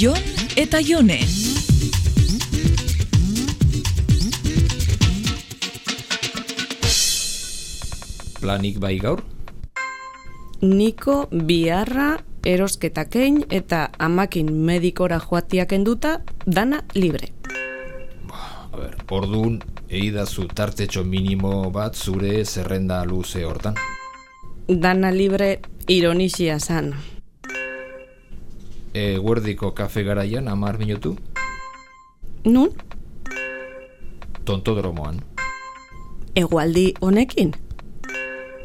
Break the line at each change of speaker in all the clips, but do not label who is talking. Jon eta Jone.
Planik bai gaur?
Niko biharra erosketain eta amakin medikora joatiak enduta dana libre.
A ber, ordun eidazu tartetxo minimo bat zure zerrenda luze hortan.
Dana libre ironixia zan.
E, guerdiko kafe garaian amar minutu,
Nun,
tontodromoan.
egualdi honekin?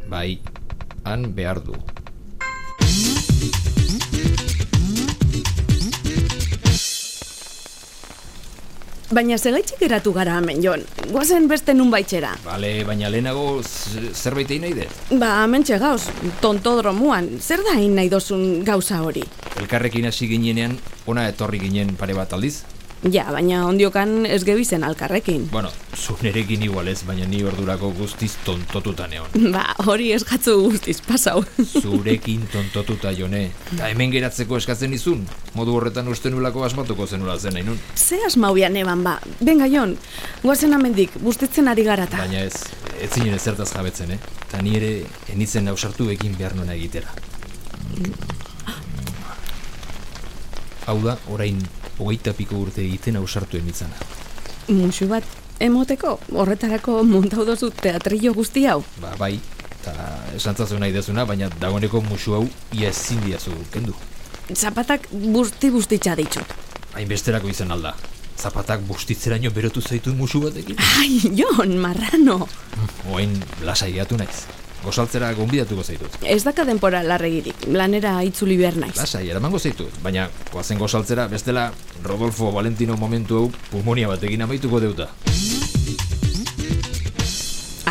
Bai, han behar du.
Baina segaitxik geratu gara hemen, Jon. Guazen beste nun baitxera.
Bale, baina lehenago z- zerbait egin nahi dut.
Ba, hemen txegauz, tontodromuan, zer da hain nahi dozun gauza hori?
Elkarrekin hasi ginenean, ona etorri ginen pare bat aldiz.
Ja, baina ondiokan ez gebizen alkarrekin.
Bueno, zu nerekin igual ez, baina ni ordurako guztiz tontotuta neon.
Ba, hori ez jatzu guztiz pasau.
Zurekin tontotuta jone. Ta hemen geratzeko eskatzen izun. Modu horretan uste nulako asmatuko zenula zen nahi nun.
Ze asmauian eban ba, benga Jon, guazen amendik, bustitzen ari garata.
Baina ez, ez zinen ezertaz jabetzen, eh? Ta ni ere enitzen ausartu egin behar nuen egitera. Hau da, orain hogeita piko urte egiten ausartu enitzana.
Musu bat, emoteko, horretarako montau dozu teatrillo guzti hau.
Ba, bai, eta esantzazu nahi dezuna, baina dagoeneko musu hau ia ezin diazu kendu.
Zapatak busti bustitza ditut.
Hainbesterako izan alda. Zapatak bustitzeraino berotu zaitu musu batekin.
Ai, Jon, marrano!
Oain lasa ideatu naiz. Gozaltzera gonbidatuko zaitut.
Ez daka denpora larregirik, lanera itzuli behar naiz.
Lasai, eramango zaitut, baina koazen gozaltzera bestela Rodolfo Valentino momentu hau pulmonia batekin amaituko deuta.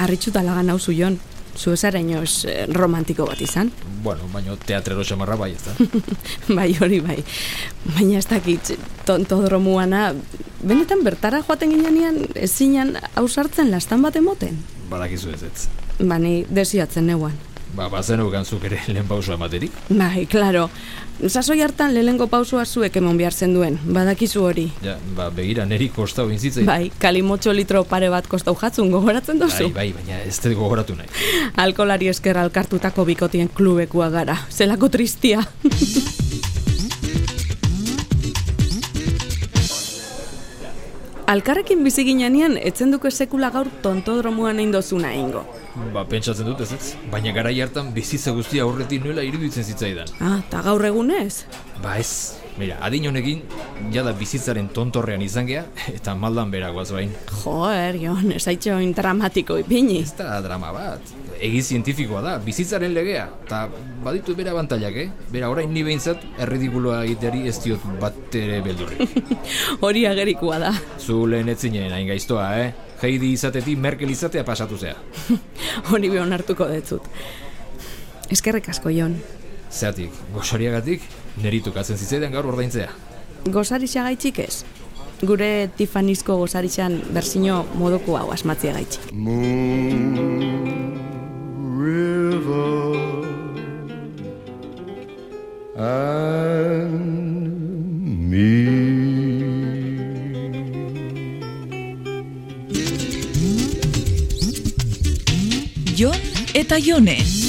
Arritxuta lagan hauzu Jon, zu esarainoz eh, romantiko bat izan.
Bueno, baino teatrero xamarra bai, ezta?
bai, hori bai. Baina ez dakit, tontodromuana, benetan bertara joaten ginean ezinan ausartzen lastan bat emoten.
Badakizu ez ez.
Bani, Ba, desiatzen neuan.
Ba, bazen eukanzuk ere lehen pausoa ematerik.
Bai, klaro. Sasoi hartan lehengo pausua zuek emon behar zen duen, badakizu hori.
Ja, ba, begira neri kosta egin zitzai.
Bai, kalimotxo litro pare bat kostau jatzun gogoratzen
bai,
duzu.
bai, baina ez dut gogoratu nahi.
Alkolari esker alkartutako bikotien klubekua gara. Zelako tristia. Alkarrekin bizi ginean etzen duke sekula gaur tontodromuan egin dozuna egingo.
Ba, pentsatzen dut ez ez. Baina garai hartan bizitza guztia aurretik nuela iruditzen zitzaidan.
Ah, eta gaur egunez?
Ba ez, mira, adin honekin, jada bizitzaren tontorrean izan gea, eta maldan beragoaz bain.
Joer, Jon, esaitxo oin dramatiko ipini.
Ez da drama bat, egi zientifikoa da, bizitzaren legea, eta baditu bera bantailak, eh? Bera orain ni behintzat, erridikuloa egiteari ez diot bat ere beldurri.
Hori agerikoa da.
Zu lehen ez zinen hain gaiztoa, eh? Heidi izatetik Merkel izatea pasatu zea.
Hori be onartuko detzut. Eskerrik asko, Jon.
Zeatik, gozoriagatik, neri tukatzen zitzaidan gaur ordaintzea.
Gozarixa gaitxik ez. Gure tifanizko gozarixan berzino modoko hau asmatzia gaitxik.
Moon River and me.
Jon eta Jone.